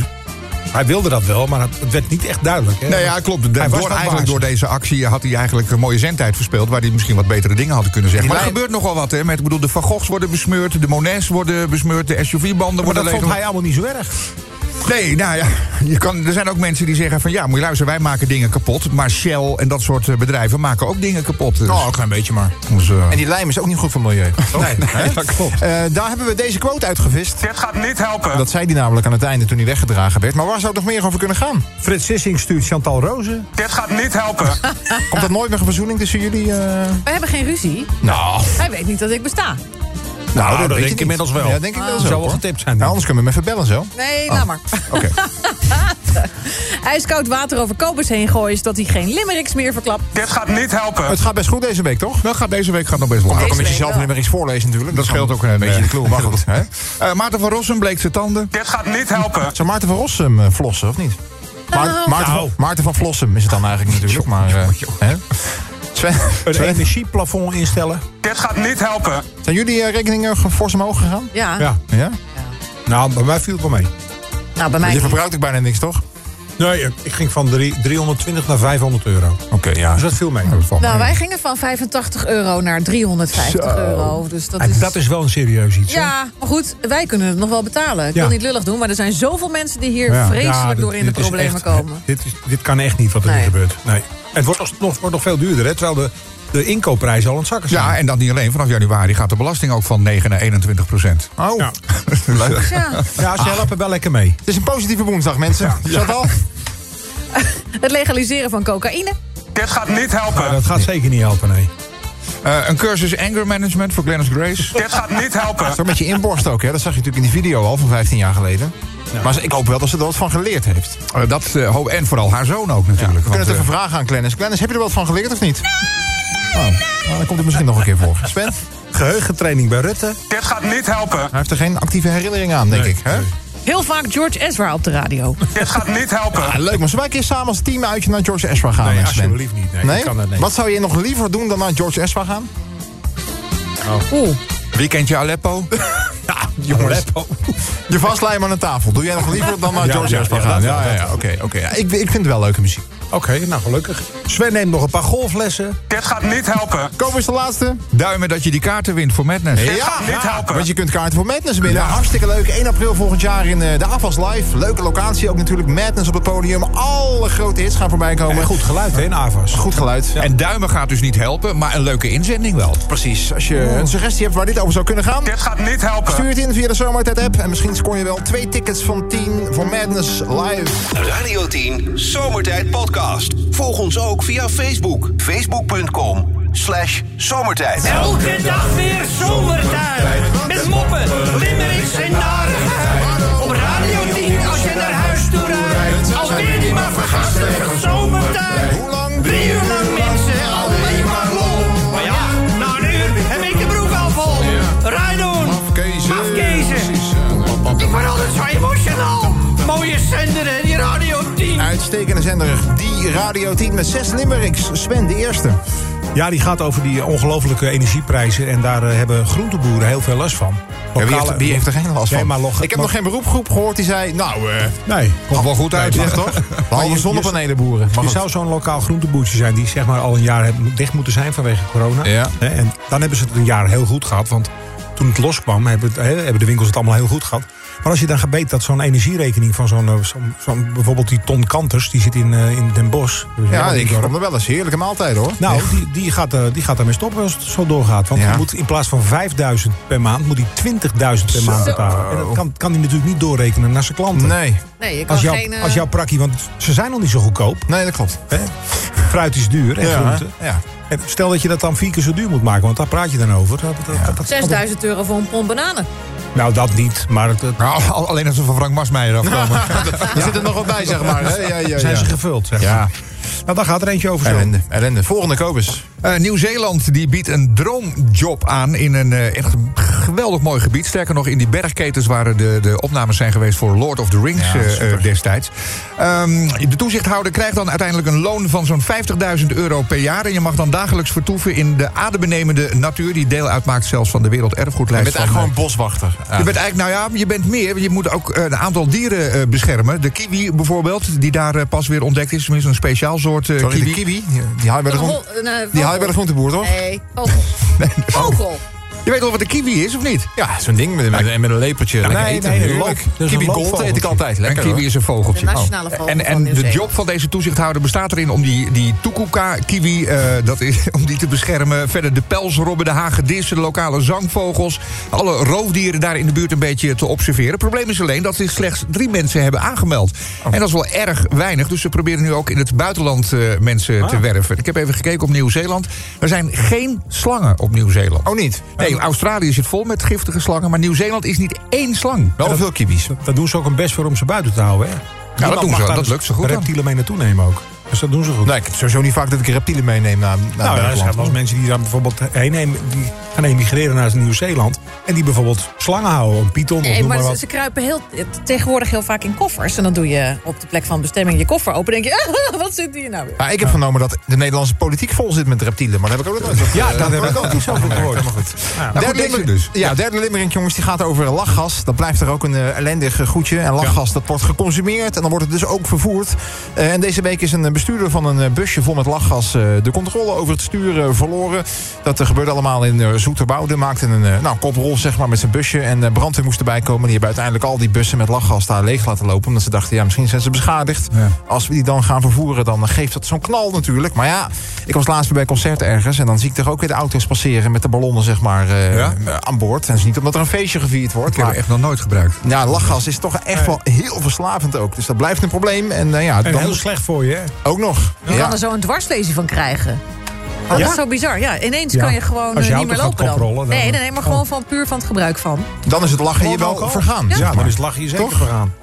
Speaker 4: Hij wilde dat wel, maar het het werd niet echt duidelijk. Hè?
Speaker 6: Nou ja, klopt. De-
Speaker 4: Hij was
Speaker 6: door,
Speaker 4: wel
Speaker 6: eigenlijk
Speaker 4: baas.
Speaker 6: door deze actie had hij eigenlijk een mooie zendtijd verspeeld... waar hij misschien wat betere dingen had kunnen zeggen.
Speaker 4: Die
Speaker 6: Maar er
Speaker 4: lijn-
Speaker 6: gebeurt nogal wat, hè. Met, ik bedoel, de Van Goghs worden besmeurd, de Monets worden besmeurd... de SUV-banden
Speaker 4: Maar
Speaker 6: worden
Speaker 4: dat vond
Speaker 6: leeg-
Speaker 4: hij allemaal niet zo erg.
Speaker 6: Nee, nou ja, je kan, er zijn ook mensen die zeggen van... ja, moet je luisteren, wij maken dingen kapot... maar Shell en dat soort eh, bedrijven maken ook dingen kapot. Dus,
Speaker 2: Oh, een klein beetje maar.
Speaker 6: dus, eh,
Speaker 2: En die lijm is ook niet goed voor het milieu.
Speaker 6: nee, dat klopt.
Speaker 2: Eh, daar hebben we deze quote uitgevist.
Speaker 9: Dit gaat niet helpen.
Speaker 2: Dat zei hij namelijk aan het einde toen hij weggedragen werd. Maar waar zou het nog meer over kunnen gaan?
Speaker 4: Frits Sissing stuurt Chantal Rozen.
Speaker 9: Dit gaat niet helpen.
Speaker 2: Komt er nooit meer een verzoening tussen jullie? eh?
Speaker 5: We hebben geen ruzie.
Speaker 2: Nou,
Speaker 5: Hij weet niet dat ik besta.
Speaker 4: Nou, dat
Speaker 2: weet
Speaker 4: denk
Speaker 2: je
Speaker 4: ik
Speaker 2: niet.
Speaker 4: inmiddels wel.
Speaker 2: Ja, denk ik wel
Speaker 4: Zou
Speaker 2: zo.
Speaker 4: wel
Speaker 2: hoor.
Speaker 4: getipt
Speaker 2: Nou,
Speaker 4: zijn, denk
Speaker 2: anders kunnen we hem even bellen zo.
Speaker 5: Nee,
Speaker 4: Ah,
Speaker 5: laat maar.
Speaker 2: Oké.
Speaker 5: IJskoud water over kopers heen gooien... zodat hij geen limericks meer verklapt.
Speaker 9: Dit gaat niet helpen.
Speaker 2: Oh, Het gaat best goed deze week, toch?
Speaker 6: Nou, gaat deze week gaat nog best wel
Speaker 2: Dan
Speaker 6: hard.
Speaker 2: kan je
Speaker 5: week
Speaker 2: zelf
Speaker 5: wel.
Speaker 2: niet meer iets voorlezen natuurlijk.
Speaker 6: Dat
Speaker 2: is
Speaker 6: scheelt
Speaker 2: gewoon
Speaker 6: ook een
Speaker 2: een beetje de
Speaker 6: eh,
Speaker 2: clue. Maar goed, hè?
Speaker 6: Eh, Maarten van Rossum bleek zijn tanden.
Speaker 9: Dit gaat niet helpen.
Speaker 2: Zou Maarten van Rossum eh, flossen, of niet? Maar-
Speaker 5: Nou.
Speaker 2: Maarten, van,
Speaker 4: Nou.
Speaker 2: Maarten van Flossum is het dan eigenlijk natuurlijk. Maar, eh, hè? Sven,
Speaker 4: Een
Speaker 2: Sven,
Speaker 4: energieplafond instellen.
Speaker 9: Dit gaat niet helpen.
Speaker 2: zijn jullie eh, rekeningen ge- fors omhoog gegaan?
Speaker 5: Ja.
Speaker 4: Ja.
Speaker 2: Ja?
Speaker 4: Nou, bij mij viel het wel mee.
Speaker 5: Nou, bij mij
Speaker 2: Je
Speaker 5: niet.
Speaker 2: verbruikt ook bijna niks, toch?
Speaker 4: Nee, eh, ik ging van drie- 320 naar 500 euro.
Speaker 2: Oké, ja.
Speaker 4: Dus dat viel mee.
Speaker 5: Nou, wij gingen van 85 euro naar 350 euro. Dus dat
Speaker 4: En
Speaker 5: is...
Speaker 4: dat is wel een serieus iets. hè?
Speaker 5: Ja, maar goed, wij kunnen het nog wel betalen. Ik
Speaker 4: Ja.
Speaker 5: wil niet lullig doen, maar er zijn zoveel mensen... die hier
Speaker 4: Ja.
Speaker 5: vreselijk
Speaker 4: Ja, dit-
Speaker 5: door in de
Speaker 4: dit is
Speaker 5: problemen
Speaker 4: echt-
Speaker 5: komen.
Speaker 4: Dit, is, dit kan echt niet wat er
Speaker 5: Nee.
Speaker 4: nu gebeurt. Nee. Het wordt nog, nog- wordt nog veel duurder, hè? terwijl de, de inkoopprijzen al aan het zakken zijn.
Speaker 6: Ja, en dat niet alleen. Vanaf januari gaat de belasting ook van 9 naar 21 procent.
Speaker 2: Oh,
Speaker 4: Ja.
Speaker 6: Leuk.
Speaker 5: Ja.
Speaker 4: Ja,
Speaker 2: Ah.
Speaker 4: ze helpen wel lekker mee.
Speaker 2: het is een positieve woensdag, mensen. Is dat al?
Speaker 5: Het legaliseren van cocaïne.
Speaker 9: Dit gaat niet helpen.
Speaker 4: dat gaat zeker niet helpen, nee.
Speaker 6: Eh, een cursus anger management voor Glennis Grace.
Speaker 9: Dit gaat niet helpen.
Speaker 2: Zo met je inborst ook, hè? Dat zag je natuurlijk in die video al van 15 jaar geleden. Maar ze- ik hoop wel dat ze er wat van geleerd heeft. We
Speaker 6: Eh, dat, eh, ho- en vooral haar zoon ook natuurlijk.
Speaker 2: kunnen
Speaker 6: want,
Speaker 2: het even
Speaker 6: eh,
Speaker 2: vragen aan Glennis. Glennis, heb je er wat van geleerd of niet? Oh, nou, dan komt het misschien nog een keer voor. Sven,
Speaker 4: Geheugentraining bij Rutte.
Speaker 9: Dit gaat niet helpen.
Speaker 2: hij heeft er geen actieve herinnering aan, denk ik. Hè?
Speaker 5: Heel vaak George Ezra op de radio.
Speaker 9: Dit gaat niet helpen.
Speaker 2: Ah, leuk, maar zullen wij een keer samen als team uitje naar George Ezra gaan?
Speaker 4: Nee,
Speaker 2: eh, Sven?
Speaker 4: alsjeblieft niet. Nee,
Speaker 2: Nee?
Speaker 4: Ik kan dat niet.
Speaker 2: Wat zou je nog liever doen dan naar George Ezra gaan?
Speaker 5: Oeh.
Speaker 6: eh, Weekendje Aleppo.
Speaker 2: Jongens, je vastlijm aan een tafel. Doe jij nog liever dan naar
Speaker 4: Ja,
Speaker 2: George
Speaker 4: ja,
Speaker 2: Ezra
Speaker 4: ja,
Speaker 2: gaan?
Speaker 4: dat-
Speaker 2: Ja, ja,
Speaker 4: dat-
Speaker 2: ja, oké. oké. Ja, ik, ik vind het wel leuke muziek.
Speaker 4: Oké, nou gelukkig. Sven neemt nog een paar golflessen.
Speaker 9: Dit gaat niet helpen.
Speaker 2: Koop eens de laatste.
Speaker 6: Duimen dat je die kaarten wint voor Madness.
Speaker 9: Dit gaat niet helpen.
Speaker 2: Want je kunt kaarten voor Madness winnen. Hartstikke leuk. 1 april volgend jaar in eh, de AFAS Live. Leuke locatie ook natuurlijk. Madness op het podium. Alle grote hits gaan voorbij komen.
Speaker 4: En goed geluid, hè, in AVAS.
Speaker 2: Goed geluid.
Speaker 6: En duimen gaat dus niet helpen, maar een leuke inzending wel.
Speaker 2: Precies. Als je een suggestie hebt waar dit over zou kunnen gaan...
Speaker 9: Dit gaat niet helpen.
Speaker 2: stuur het in via de Zomertijd-app. En misschien scoor je wel twee tickets van 10 voor Madness Live.
Speaker 1: Radio 10 Zomertijd Podcast. Volg ons ook via Facebook. Facebook.com slash zomertijd.
Speaker 10: Elke dag weer zomertijd. Met moppen, limericks en narigheid. Op Radio 10 als je naar huis toe rijdt. Alweer die maar vergasten zomertijd.
Speaker 2: Hoe lang?
Speaker 10: Drie uur lang mensen, alleen maar lol. Maar ja, na een uur heb ik de broek al vol. Rijdoen, afkezen. Ik word altijd zo emotional. Mooie zender en die Radio 10.
Speaker 2: Uitstekende zender. Die Radio 10 met 6 limericks. Sven, de eerste.
Speaker 4: Ja, die gaat over die ongelofelijke energieprijzen. En daar eh, hebben groenteboeren heel veel last van.
Speaker 2: Ja, wie,
Speaker 4: Lokale-
Speaker 2: heeft, wie heeft er geen last van?
Speaker 4: Nee, maar log-
Speaker 2: ik heb nog geen beroepgroep gehoord die zei... Nou, eh...
Speaker 4: Nee, komt wel goed uit.
Speaker 2: Uitleg toch? Behalve zonnepanelenboeren. Maar
Speaker 4: Je
Speaker 2: goed.
Speaker 4: zou zo'n lokaal groenteboertje zijn die zeg maar al een jaar heb- dicht moeten zijn vanwege corona.
Speaker 2: Ja.
Speaker 4: Hè, En dan hebben ze het een jaar heel goed gehad. Want toen het loskwam, hebben, het, hè, hebben de winkels het allemaal heel goed gehad. Maar als je dan gebeet dat zo'n energierekening van zo'n, eh, zo'n, zo'n- bijvoorbeeld die Ton Kanters, die zit in, eh, in Den Bosch. Dus
Speaker 2: Ja,
Speaker 4: helemaal in
Speaker 2: ik
Speaker 4: het dorp.
Speaker 2: kom er wel eens. Heerlijke maaltijd hoor.
Speaker 4: Nou, die, die, gaat, eh, die gaat daarmee stoppen als het zo doorgaat. Want
Speaker 2: Ja.
Speaker 4: je moet in plaats van 5000 per maand, moet hij 20.000 per maand betalen. En dat kan, kan hij natuurlijk niet doorrekenen naar zijn klanten.
Speaker 2: Nee.
Speaker 5: Nee, je kan
Speaker 4: Als, jouw-
Speaker 5: geen... eh,
Speaker 4: als jouw prakkie, want ze zijn al niet zo goedkoop.
Speaker 2: Nee, dat klopt.
Speaker 4: Hè? Fruit is duur en
Speaker 2: Ja,
Speaker 4: groente.
Speaker 2: hè? Ja.
Speaker 4: En stel dat je dat dan vier keer zo duur moet maken, want daar praat je dan over. Dat, dat- dat- dat-
Speaker 5: 6000 eh, euro voor een pond bananen.
Speaker 4: Nou, dat niet, maar het, het-
Speaker 6: Nou, al- alleen als we van Frank Masmeijer afkomen.
Speaker 2: Er zit er nog wat bij, zeg maar. hè? Ja, ja, ja.
Speaker 4: zijn ze gevuld, zeg maar.
Speaker 2: Ja.
Speaker 4: Nou, daar gaat er eentje over zo.
Speaker 2: Ellende, ellende. Volgende Kobus.
Speaker 6: Eh, Nieuw-Zeeland die biedt een droomjob aan in een eh, echt geweldig mooi gebied. Sterker nog, in die bergketens waar de, de opnames zijn geweest voor Lord of the Rings eh, eh, destijds. Ehm, de toezichthouder krijgt dan uiteindelijk een loon van zo'n 50.000 euro per jaar. En je mag dan dagelijks vertoeven in de adembenemende natuur. Die deel uitmaakt zelfs van de
Speaker 2: Je
Speaker 6: werelderfgoedlijst.
Speaker 2: bent eigenlijk
Speaker 6: van, eh,
Speaker 2: gewoon boswachter.
Speaker 6: je bent eigenlijk, nou ja, je bent meer. want Je moet ook een aantal dieren eh, beschermen. De kiwi bijvoorbeeld, die daar eh, pas weer ontdekt is. Tenminste, een speciaal soort eh,
Speaker 2: Sorry,
Speaker 6: kiwi.
Speaker 2: de kiwi, die haal je bij de, groen,
Speaker 5: Een, eh,
Speaker 2: die haal je bij de groenteboer, toch?
Speaker 5: Nee, vogel. Vogel.
Speaker 6: Je weet wel wat een kiwi is, of niet?
Speaker 2: Ja, zo'n ding met, met, met een lepeltje.
Speaker 6: nee,
Speaker 2: Lekker eten,
Speaker 6: nee, nee,
Speaker 2: heerlijk.
Speaker 4: leuk. Dat is
Speaker 2: Kiwi
Speaker 4: een
Speaker 2: Gold eet ik
Speaker 4: landvogeltje.
Speaker 2: altijd.
Speaker 6: Een
Speaker 2: Lekker
Speaker 6: kiwi
Speaker 2: hoor.
Speaker 6: is een vogeltje. Oh.
Speaker 5: De nationale vogel
Speaker 6: En,
Speaker 5: van
Speaker 6: en de
Speaker 5: Nieuw-Zeeland.
Speaker 6: job van deze toezichthouder bestaat erin om die, die toekoeka-kiwi eh, dat is om die te beschermen. Verder de pelsrobben, de hagedissen, de lokale zangvogels. Alle roofdieren daar in de buurt een beetje te observeren. Het probleem is alleen dat zich slechts drie mensen hebben aangemeld.
Speaker 2: Oh.
Speaker 6: En dat is wel erg weinig. Dus ze proberen nu ook in het buitenland eh, mensen
Speaker 2: Ah.
Speaker 6: te werven. Ik heb even gekeken op Nieuw-Zeeland. Er zijn geen slangen op Nieuw-Zeeland.
Speaker 2: Oh, niet?
Speaker 6: Nee, Australië zit vol met giftige slangen. Maar Nieuw-Zeeland is niet één slang.
Speaker 2: Wel veel kiwis.
Speaker 4: Dat doen ze ook hun best voor om ze buiten te houden. Hè?
Speaker 6: dat
Speaker 4: Niemand
Speaker 6: doen ze
Speaker 4: mag
Speaker 6: wel.
Speaker 4: daar dus
Speaker 6: Dat lukt ze goed dan.
Speaker 4: Reptielen mee naartoe nemen ook. Dus dat doen ze goed.
Speaker 2: Nee, ik heb sowieso niet vaak dat ik reptielen meeneem naar, naar
Speaker 4: Nou, ja, er zijn
Speaker 2: Nederland.
Speaker 4: wel eens mensen die daar bijvoorbeeld eh, heen nemen, die gaan emigreren naar Nieuw-Zeeland. En die bijvoorbeeld slangen
Speaker 2: Oh,
Speaker 4: houden, een python of
Speaker 5: Nee,
Speaker 4: noem
Speaker 5: maar
Speaker 4: maar
Speaker 5: ze,
Speaker 4: wat.
Speaker 5: ze kruipen heel, tegenwoordig heel vaak in koffers. En dan doe je op de plek van bestemming je koffer open. denk je, wat zit hier nou weer?
Speaker 2: Ja, ik heb vernomen dat de Nederlandse politiek vol zit met reptielen. Maar dat heb ik ook nog nooit.
Speaker 4: Ja, dat heb ik ook niet zo goed gehoord.
Speaker 2: Maar goed.
Speaker 4: Nou,
Speaker 6: goed,
Speaker 2: derde
Speaker 6: deze
Speaker 2: limmer-
Speaker 6: dus.
Speaker 2: Ja, derde limmering, jongens, die gaat over lachgas. Dat blijft er ook een eh, ellendig eh, goedje. En lachgas, dat wordt geconsumeerd en dan wordt het dus ook vervoerd. Eh, en deze week is een eh, bestuurder van een eh, busje vol met lachgas... eh, de controle over het stuur eh, verloren. Dat eh, gebeurde allemaal in eh, Zoeterwoude. Maakte een eh, nou, koprol, zeg maar, met zijn busje. En eh, brandweer moest erbij komen. Die hebben uiteindelijk al die bussen met lachgas daar leeg laten lopen. Omdat ze dachten, ja, misschien zijn ze beschadigd. Als we die dan gaan vervoeren, dan geeft dat zo'n knal natuurlijk. Maar ja, ik was laatst weer bij een concert ergens... en dan zie ik toch ook weer de auto's passeren met de ballonnen, zeg maar... eh,
Speaker 6: Ja?
Speaker 2: eh, aan boord. En dat is niet omdat er een feestje gevierd wordt.
Speaker 6: Ik heb
Speaker 2: Maar
Speaker 6: het echt nog nooit gebruikt.
Speaker 2: ja, lachgas is toch echt wel heel verslavend ook. Dus dat blijft een probleem. En eh, ja,
Speaker 4: en heel
Speaker 2: dan
Speaker 4: slecht voor je, hè?
Speaker 2: ook nog.
Speaker 5: Je
Speaker 2: Ja.
Speaker 5: kan er zo een dwarslezing van krijgen. Oh, Dat
Speaker 4: Ja?
Speaker 5: is zo bizar. Ja, ineens
Speaker 4: Ja.
Speaker 5: kan je gewoon
Speaker 4: Als je
Speaker 5: eh, niet
Speaker 4: auto
Speaker 5: meer
Speaker 4: gaat
Speaker 5: lopen dan.
Speaker 4: koprollen, dan-
Speaker 5: Nee, nee, nee, maar
Speaker 4: Oh.
Speaker 5: gewoon van puur van het gebruik van.
Speaker 2: Dan is het lachen hier
Speaker 4: Gewoon
Speaker 2: wel
Speaker 4: alcohol?
Speaker 2: vergaan.
Speaker 4: Ja,
Speaker 2: zeg
Speaker 4: maar
Speaker 2: maar.
Speaker 4: dus lach je zeker
Speaker 2: Toch?
Speaker 4: voor aan.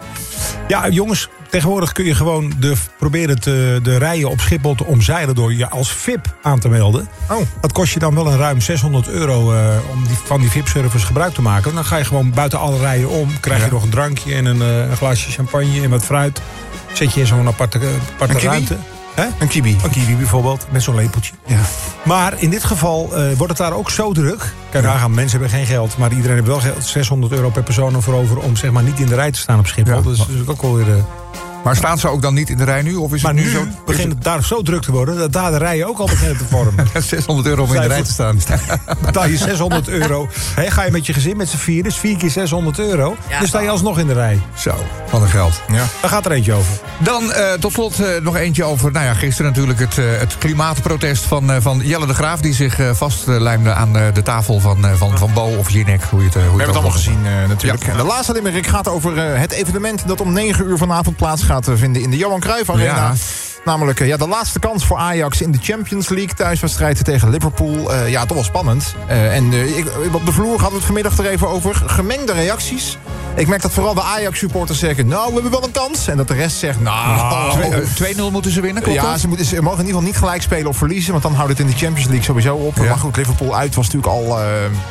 Speaker 4: Ja, jongens, tegenwoordig kun je gewoon de, proberen te, de rijen op Schiphol te omzeilen... door je als VIP aan te melden.
Speaker 2: Oh.
Speaker 4: Dat kost je dan wel een ruim 600 euro eh, om die, van die VIP-service gebruik te maken. Dan ga je gewoon buiten alle rijen om. Krijg je nog een drankje en een, eh, een glaasje champagne en wat fruit. Zet je in zo'n aparte, eh, aparte
Speaker 2: Een kiwi?
Speaker 4: ruimte. Hè?
Speaker 2: Een kiwi.
Speaker 4: Een kiwi bijvoorbeeld, met zo'n lepeltje.
Speaker 2: Ja.
Speaker 4: Maar in dit geval eh, wordt het daar ook zo druk. Kijk, daar gaan mensen hebben geen geld. Maar iedereen heeft wel geld. 600 euro per persoon ervoor over om zeg maar niet in de rij te staan op Schiphol.
Speaker 6: Ja,
Speaker 4: dat is
Speaker 6: maar-
Speaker 4: natuurlijk ook wel weer. eh,
Speaker 6: Maar staan ze ook dan niet in de rij nu? Of is
Speaker 4: maar
Speaker 6: het
Speaker 4: nu
Speaker 6: nu, zo?
Speaker 4: begint het daar zo druk te worden dat daar de rijen ook al beginnen te vormen.
Speaker 6: Ja, 600 euro om in de rij te staan.
Speaker 4: Betaal je 600 euro. Hè, ga je met je gezin met z'n vier, dus vier keer 600 euro.
Speaker 5: Ja.
Speaker 4: Dan sta je alsnog in de rij.
Speaker 6: Zo, wat een geld.
Speaker 4: Daar gaat er eentje over.
Speaker 6: Dan eh, tot slot eh, nog eentje over. Nou ja, gisteren natuurlijk het, eh, het klimaatprotest van, eh, van Jelle de Graaf. Die zich eh vastlijmde aan eh, de tafel van, eh, van, van Bo of Jinek. Hoe je het, eh,
Speaker 2: We
Speaker 6: hoe je
Speaker 2: hebben het allemaal gezien eh, natuurlijk.
Speaker 6: Ja.
Speaker 2: En de laatste limmering gaat over eh, het evenement... dat om 9 uur vanavond plaats gaat eh, vinden in de Johan Cruijff Arena.
Speaker 6: Ja.
Speaker 2: Namelijk eh, ja, de laatste kans voor Ajax in de Champions League. Thuiswedstrijd tegen Liverpool. Eh, ja, toch wel spannend. Eh, en eh, ik, op de vloer hadden we het vanmiddag er even over. Gemengde reacties. Ik merk dat vooral de Ajax-supporters zeggen... nou, we hebben wel een kans. En dat de rest zegt... nou,
Speaker 6: Twee- eh, 2-0 moeten ze winnen, klopt
Speaker 2: ja,
Speaker 6: dat?
Speaker 2: ze, moeten, ze mogen in ieder geval niet gelijk spelen of verliezen... want dan houdt het in de Champions League sowieso op.
Speaker 6: Ja.
Speaker 2: Maar goed, Liverpool uit was natuurlijk al... eh,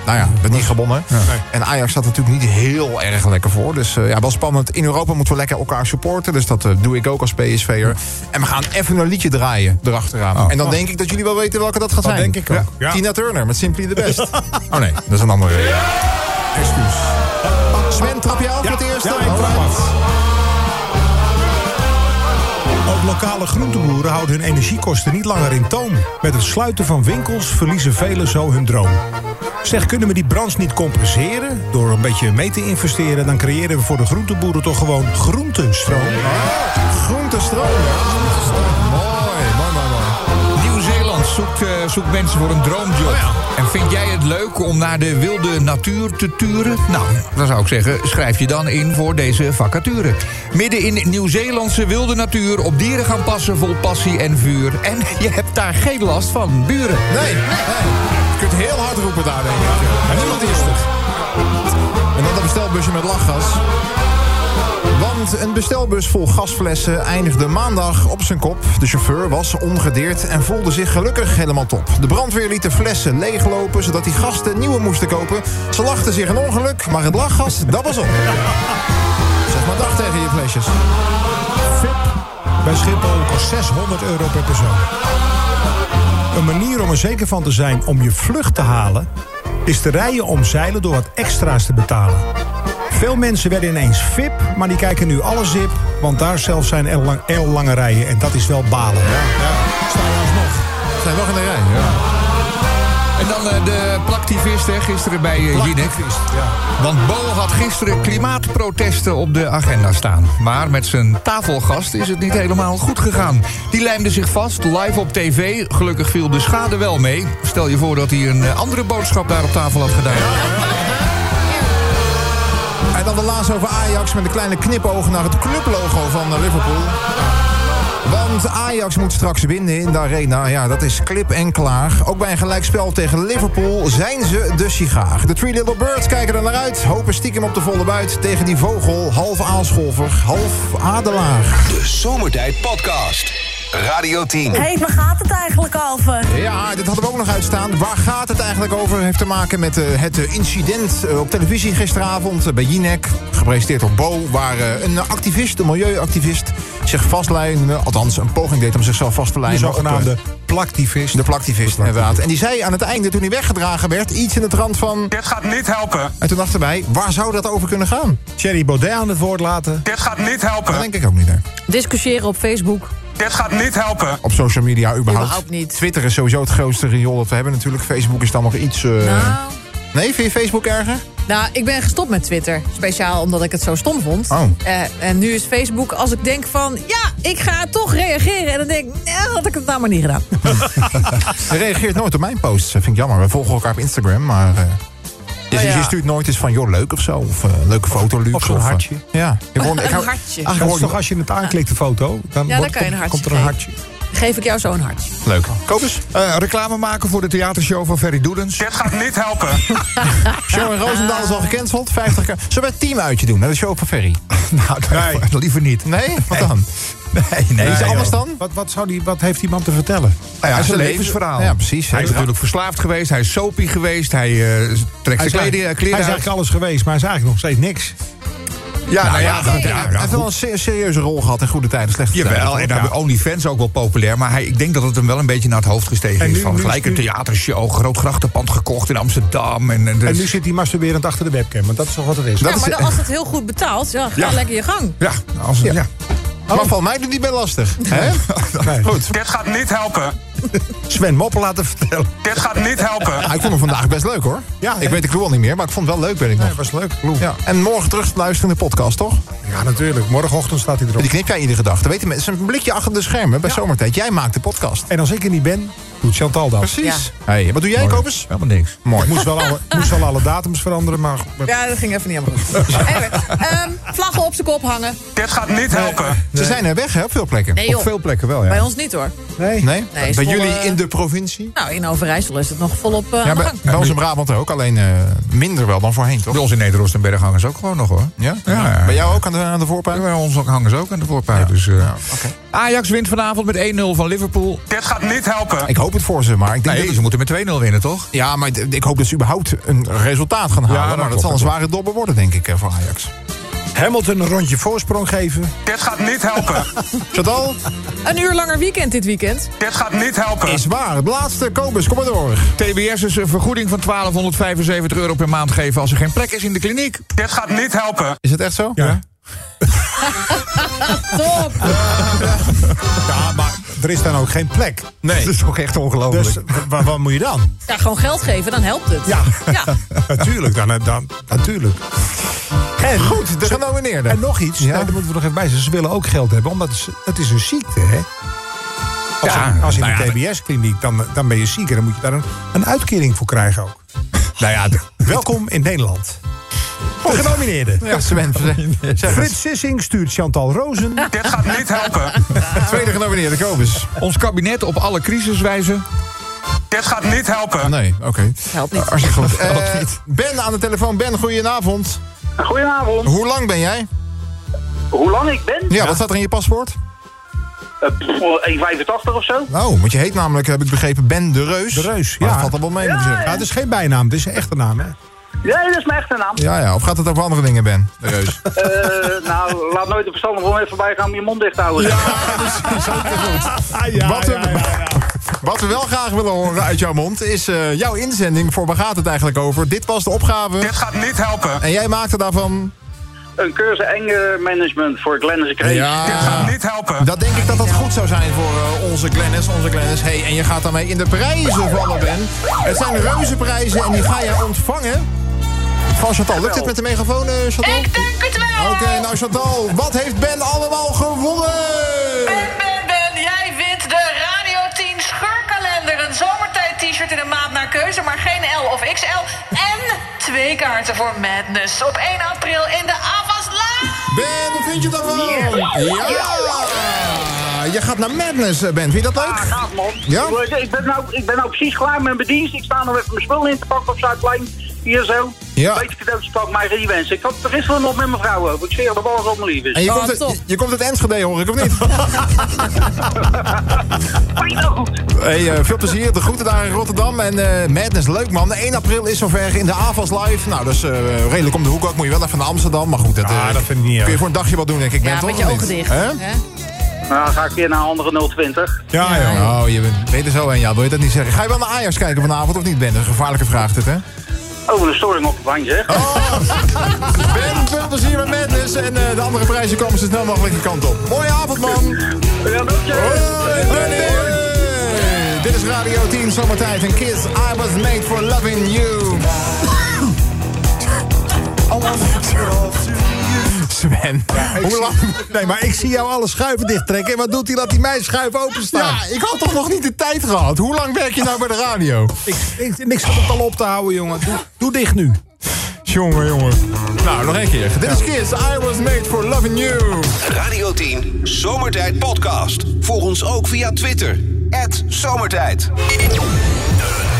Speaker 2: nou ja, werd niet gewonnen. En Ajax staat er natuurlijk niet heel erg lekker voor. Dus eh, ja, wel spannend. In Europa moeten we lekker elkaar supporten. Dus dat eh, doe ik ook als PSV'er. En we gaan even een liedje draaien erachteraan. En dan denk ik dat jullie wel weten welke Oh. dat gaat zijn.
Speaker 4: denk ik ook.
Speaker 2: Ja.
Speaker 4: Ja.
Speaker 2: Tina Turner met Simply the Best. oh nee, dat is een andere... Excuus. Sven, trap je af met de eerste? Oh,
Speaker 4: Ja, ik trap af. Ook lokale groenteboeren houden hun energiekosten niet langer in toom. Met het sluiten van winkels verliezen velen zo hun droom. Zeg, kunnen we die branche niet compenseren? Door een beetje mee te investeren, dan creëren we voor de groenteboeren toch gewoon groentenstroom.
Speaker 2: Groentestroom. Mooi, mooi, mooi, mooi.
Speaker 6: Nieuw-Zeeland zoekt, eh, zoekt mensen voor een droomjob. En vind jij het leuk om naar de wilde natuur te turen? Nou, dan zou ik zeggen, schrijf je dan in voor deze vacature. Midden in Nieuw-Zeelandse wilde natuur, op dieren gaan passen vol passie en vuur. En je hebt daar geen last van, buren.
Speaker 2: Nee, nee. Je kunt heel hard roepen daar, denk ik. En niemand is er. En dan dat bestelbusje met lachgas. One Duitsland. Een bestelbus vol gasflessen eindigde maandag op zijn kop. De chauffeur was ongedeerd en voelde zich gelukkig helemaal top. De brandweer liet de flessen leeglopen, zodat die gasten nieuwe moesten kopen. Ze lachten zich een ongeluk, maar het lachgas, dat was op. Zeg maar dag tegen je flesjes.
Speaker 4: Bij Schiphol kost 600 euro per persoon. Een manier om er zeker van te zijn om je vlucht te halen... is te rijden om zeilen door wat extra's te betalen. Veel mensen werden ineens VIP, maar die kijken nu alle zip... want daar zelfs zijn er lang, er lange rijen en dat is wel balen. Sta je alsnog.
Speaker 2: Zijn nog in de rij, ja.
Speaker 6: En dan eh, de plaktivist hè, gisteren bij eh, Jinek. Want Bo had gisteren klimaatprotesten op de agenda staan. Maar met zijn tafelgast is het niet helemaal goed gegaan. Die lijmde zich vast, live op tv. Gelukkig viel de schade wel mee. Stel je voor dat hij een eh, andere boodschap daar op tafel had gedaan. Nou
Speaker 2: En dan de laatste over Ajax met een kleine knipoog naar het clublogo van eh, Liverpool. Want Ajax moet straks winnen in de arena. Ja, dat is klip en klaar. Ook bij een gelijkspel tegen Liverpool zijn ze de sigaar. De Three Little Birds kijken er naar uit. Hopen stiekem op de volle buit tegen die vogel. Half aanscholver, half adelaar.
Speaker 1: De Zomertijd Podcast. Radio 10.
Speaker 7: Hé, waar gaat het eigenlijk over?
Speaker 2: Ja, dit hadden we ook nog uitstaan. Waar gaat het eigenlijk over? Heeft te maken met eh, het eh, incident eh, op televisie gisteravond eh, bij Jinek. Gepresenteerd door Bo, waar eh, een activist, een milieuactivist... zich vastlijnde, althans een poging deed om zichzelf vast te
Speaker 4: De
Speaker 2: lijnen. op, eh,
Speaker 4: zogenaamde plaktivist.
Speaker 2: De plaktivist, inderdaad. En die zei aan het einde, toen hij weggedragen werd... iets in de trant van...
Speaker 9: Dit gaat niet helpen.
Speaker 2: En toen dachten wij, waar zou dat over kunnen gaan?
Speaker 4: Thierry Baudet aan het woord laten.
Speaker 9: Dit gaat niet
Speaker 2: Dat
Speaker 9: helpen.
Speaker 2: denk ik ook niet, hè.
Speaker 5: Discussiëren op Facebook.
Speaker 9: Dit gaat niet helpen.
Speaker 2: Op social media überhaupt.
Speaker 5: Überhaupt niet.
Speaker 2: Twitter is sowieso het grootste riool dat we hebben natuurlijk. Facebook is dan nog iets... eh,
Speaker 5: Nou,
Speaker 2: Nee, vind je Facebook erger?
Speaker 5: nou, ik ben gestopt met Twitter. Speciaal omdat ik het zo stom vond.
Speaker 2: Oh.
Speaker 5: Eh, en nu is Facebook, als ik denk van... ja, ik ga toch reageren. En dan denk ik, nou, had ik het nou maar niet gedaan.
Speaker 2: Je reageert nooit op mijn posts. Dat vind ik jammer. We volgen elkaar op Instagram, maar... eh, je,
Speaker 5: Nou ja.
Speaker 2: je stuurt nooit eens van, joh, leuk of zo. Of eh, leuke foto, Luc.
Speaker 4: of zo'n
Speaker 2: eh,
Speaker 4: hartje.
Speaker 2: ja. Ik hoor- ik
Speaker 5: Een
Speaker 2: hou-
Speaker 5: hartje.
Speaker 2: Eigenlijk
Speaker 4: Dat
Speaker 2: hoor
Speaker 4: is
Speaker 2: ik
Speaker 4: toch als je het aanklikt, de foto? Dan,
Speaker 5: Ja, dan
Speaker 4: wordt-
Speaker 5: kan je een hartje
Speaker 4: komt- komt er een hartje.
Speaker 5: geven. Geef ik jou zo'n hartje.
Speaker 2: leuk. Kopers?
Speaker 6: Eh, reclame maken voor de theatershow van Ferry Doedens.
Speaker 9: Dit gaat niet helpen.
Speaker 2: Show in Roosendaal is al gecanceld. 50 Zullen we het teamuitje doen? Naar de show van Ferry.
Speaker 6: Nou, nee. liever niet.
Speaker 2: Nee? Wat dan?
Speaker 6: Nee, nee.
Speaker 2: Is
Speaker 6: joh.
Speaker 2: het anders dan?
Speaker 4: Wat, wat, zou die, wat heeft die man te vertellen?
Speaker 6: Nou ja,
Speaker 2: Ja,
Speaker 6: het is
Speaker 2: zijn
Speaker 6: een
Speaker 2: leven-
Speaker 6: levensverhaal.
Speaker 2: Ja, precies.
Speaker 6: Hij
Speaker 2: Hij
Speaker 6: is
Speaker 2: dra-
Speaker 6: natuurlijk verslaafd geweest, hij is sopie geweest, hij eh, trekt
Speaker 4: Hij
Speaker 6: zijn
Speaker 4: is, eigenlijk-
Speaker 6: kleding, eh,
Speaker 4: hij is
Speaker 6: kleren uit.
Speaker 4: eigenlijk alles geweest, maar hij is eigenlijk nog steeds niks.
Speaker 6: Ja, nou ja, goed,
Speaker 2: Hij
Speaker 6: ja, ja,
Speaker 2: heeft wel een se- serieuze rol gehad in goede tijden, slechte
Speaker 6: Jawel, en
Speaker 2: tijden.
Speaker 6: daar
Speaker 2: Ja.
Speaker 6: hebben OnlyFans ook wel populair. Maar hij, ik denk dat het hem wel een beetje naar het hoofd gestegen
Speaker 4: En
Speaker 6: is.
Speaker 4: nu-
Speaker 6: Van
Speaker 4: nu-
Speaker 6: gelijk een
Speaker 4: nu-
Speaker 6: theatershow, groot grachtenpand gekocht in Amsterdam. En, dus en,
Speaker 4: En nu zit hij masturberend achter de webcam, want dat is toch wat het is.
Speaker 5: ja, maar dan, als het heel goed betaalt, ja, ga
Speaker 6: Ja.
Speaker 5: lekker je gang.
Speaker 6: Ja, als, ja.
Speaker 2: Oh, Maar van mij doet die best lastig. Hè?
Speaker 4: Nee.
Speaker 2: Goed.
Speaker 9: Dit gaat niet helpen.
Speaker 4: Sven Moppen laten vertellen.
Speaker 9: Dit gaat niet helpen.
Speaker 2: Ah, ik vond hem vandaag best leuk hoor.
Speaker 4: Ja,
Speaker 2: ik
Speaker 4: hè?
Speaker 2: weet de clue al niet meer, maar ik vond het wel leuk, weet ik nog.
Speaker 4: Dat was leuk. Lou.
Speaker 2: Ja. En morgen terug te luisteren in de podcast, toch?
Speaker 4: Ja, natuurlijk. Morgenochtend staat hij erop.
Speaker 2: Die knip jij iedere dag. Dat weten mensen. Een blikje achter de schermen bij zomertijd. Jij maakt de podcast.
Speaker 4: En als ik er niet ben, doet Chantal dat.
Speaker 2: Precies. Hey, wat doe jij, Kobus?
Speaker 6: helemaal niks.
Speaker 4: Ik moest wel, alle, moest wel alle datums veranderen, maar... maar-
Speaker 5: Ja, dat ging even niet helemaal goed. Anyway, ehm, vlaggen op zijn kop hangen.
Speaker 9: Dit gaat niet helpen.
Speaker 2: Ze zijn er weg, hè, op veel plekken.
Speaker 5: Nee, joh.
Speaker 6: Op veel plekken wel, ja.
Speaker 5: Bij ons niet hoor.
Speaker 2: Nee?
Speaker 4: Nee.
Speaker 5: Nee,
Speaker 2: bij
Speaker 5: Zwolle-
Speaker 2: jullie in de provincie?
Speaker 5: Nou, in Overijssel is het nog volop eh,
Speaker 2: Ja,
Speaker 5: aan de
Speaker 2: bij,
Speaker 5: gang.
Speaker 2: bij ons in Brabant ook. Alleen eh, minder wel dan voorheen, toch?
Speaker 6: Bij ons in Nederland en Berg hangen ze ook gewoon nog, hoor.
Speaker 2: Ja?
Speaker 6: Ja.
Speaker 2: Bij jou ook aan de, aan de voorpagina?
Speaker 6: Bij ons hangen ze ook aan de voorpagina. Dus, eh, Ajax wint vanavond met 1-0 van Liverpool.
Speaker 9: Dit gaat niet helpen.
Speaker 2: Ik hoop het voor ze, maar ik denk
Speaker 6: Nee,
Speaker 2: dat
Speaker 6: ze moeten met 2-0 winnen, toch?
Speaker 2: Ja, maar d- ik hoop dat ze überhaupt een resultaat gaan halen.
Speaker 4: nou,
Speaker 2: maar
Speaker 6: dat
Speaker 2: dat
Speaker 6: klopt,
Speaker 2: zal een
Speaker 6: dat
Speaker 2: zware dobber worden, denk ik, eh, voor Ajax.
Speaker 4: Hamilton een rondje voorsprong geven.
Speaker 9: Dit gaat niet helpen.
Speaker 2: Chantal,
Speaker 5: Een uur langer weekend dit weekend.
Speaker 9: Dit gaat niet helpen.
Speaker 2: is waar. Het laatste, Kobus, kom maar door.
Speaker 6: TBS is een vergoeding van 1275 euro per maand geven... als er geen plek is in de kliniek.
Speaker 9: Dit gaat niet helpen.
Speaker 2: Is het echt zo?
Speaker 4: Ja.
Speaker 5: Top!
Speaker 4: Ja, maar er is dan ook geen plek.
Speaker 6: Nee. Dat is toch echt ongelooflijk.
Speaker 4: Dus wa- wa- wat moet je dan?
Speaker 5: Ja, gewoon geld geven, dan helpt het.
Speaker 4: Ja.
Speaker 5: Ja.
Speaker 4: Natuurlijk, dan, dan, natuurlijk. En,
Speaker 2: eh, Goed, de
Speaker 4: ze-
Speaker 2: genomineerden.
Speaker 4: en nog iets,
Speaker 2: Ja.
Speaker 4: nou, daar moeten we nog even bij zeggen. Ze willen ook geld hebben, omdat het, is- het is een ziekte, hè? Als,
Speaker 6: Ja,
Speaker 4: in- als in
Speaker 6: nou ja,
Speaker 4: een TBS-kliniek, dan, dan ben je ziek en dan moet je daar een, een uitkering voor krijgen ook.
Speaker 6: Nou ja, d-
Speaker 4: Welkom in Nederland. Voor genomineerden.
Speaker 2: Ja, Sven, zeg- zeg eens.
Speaker 4: Frits Sissing stuurt Chantal Rozen.
Speaker 9: Dit gaat niet helpen.
Speaker 2: Tweede genomineerde, Kobus.
Speaker 6: ons kabinet op alle crisis wijzen.
Speaker 9: Dit gaat niet helpen.
Speaker 2: Ah, Nee, oké.
Speaker 5: Helpt niet.
Speaker 2: Als je gelooft. Eh, ben aan de telefoon. Ben, goedenavond.
Speaker 11: Goedenavond.
Speaker 2: Hoe lang ben jij?
Speaker 9: Hoe lang ik ben?
Speaker 2: Ja, wat staat er in je paspoort?
Speaker 9: Eh, pff, 1,85 of zo.
Speaker 2: Oh, want je heet namelijk, heb ik begrepen, Ben de Reus. De Reus, ja. Dat valt er wel mee, moet ik zeggen.
Speaker 4: Ja, het is geen bijnaam, het is een echte naam, hè?
Speaker 9: Ja, dat is mijn echte naam.
Speaker 2: Ja, ja. Of gaat het over andere dingen, Ben? De Reus.
Speaker 9: Eh, nou, laat nooit de verstandige gewoon even voorbij gaan om je mond dicht te houden. Ja,
Speaker 2: precies. wat, we, wat we wel graag willen horen uit jouw mond is eh, jouw inzending voor waar gaat het eigenlijk over? Dit was de opgave. Dit
Speaker 12: gaat niet helpen.
Speaker 2: En jij maakte daarvan.
Speaker 9: Een cursus anger management voor Glennis Kreeg.
Speaker 2: Ja. Dit gaat
Speaker 12: niet helpen.
Speaker 2: Dat denk ik dat dat goed zou zijn voor eh, onze Glennis, onze Glennis. Hey, en je gaat daarmee in de prijzen vallen, Ben. Het zijn reuze prijzen en die ga jij ontvangen. Van Chantal. Lukt dit met de megafoon, eh, Chantal? Ik denk het wel. Oké, nou Chantal, wat heeft Ben allemaal gewonnen?
Speaker 5: Ben, Ben, Ben, jij wint de Radio 10 scheurkalender. Een zomertijd-t-shirt in een maat naar keuze, maar geen L of XL. En twee kaarten voor Madness op 1 april in de Avas Live.
Speaker 2: Ben, wat vind je daarvan? Ja! Je gaat naar Madness, eh, Ben. Vind je dat leuk?
Speaker 13: Ah, nou.
Speaker 9: Gaaf, man.
Speaker 2: Ja?
Speaker 9: Ik, eh, ik, ben nou, ik ben nou precies klaar met mijn dienst. Ik sta nog even mijn spullen in te pakken op Zuidplein. Hier zo.
Speaker 2: Ja.
Speaker 9: Beetje cadeautjes pakken, maar geen wensen. Ik had er gisteren nog met mijn vrouw over. Ik zweer de bal op mijn lief is.
Speaker 2: En je, komt uit, je, je komt uit Enschede, hoor ik, of niet? hey, eh, veel plezier. De groeten daar in Rotterdam. En eh, Madness, leuk man. 1 april is zover in de AFAS Live. Nou, dat is eh, redelijk om de hoek ook. Moet je wel even naar Amsterdam. Maar goed, dat, eh,
Speaker 4: Ah, dat vind ik niet
Speaker 2: kun je
Speaker 4: erg.
Speaker 2: voor een dagje wat doen, denk ik. ben,
Speaker 13: Ja,
Speaker 2: toch,
Speaker 13: met je
Speaker 2: of niet?
Speaker 13: ogen dicht.
Speaker 2: Hè?
Speaker 13: hè?
Speaker 9: Nou, ga ik weer naar een andere 020.
Speaker 4: Ja, ja.
Speaker 2: Oh, je bent- weet er zo een. Ja, wil je dat niet zeggen? Ga je wel naar Ajax kijken vanavond of niet, Ben? Dat is een gevaarlijke vraag, dit, hè?
Speaker 9: Oh, een storing op de bank, zeg.
Speaker 2: Ben, veel plezier met Madness. En eh, de andere prijzen komen zo snel mogelijk je kant op. Mooie avond, man.
Speaker 9: Ja,
Speaker 2: Hoi, Benny. Hey, Dit is Radio 10 Zomertijd en Kids. I was made for loving you. Sven.
Speaker 4: Hoe lang? Nee, maar ik zie jou alle schuiven dichttrekken. En wat doet hij? Laat hij mijn schuif openstaan.
Speaker 2: Ja, ik had toch nog niet de tijd gehad. Hoe lang werk je nou bij de radio?
Speaker 4: Ik, ik, niks om het al op te houden, jongen. Doe, doe dicht nu.
Speaker 2: Jongen, jongen. Nou, nog één keer. Dit is Kids. I was made for loving you.
Speaker 1: Radio 10 Zomertijd Podcast. Volg ons ook via Twitter. @zomertijd. Zomertijd. De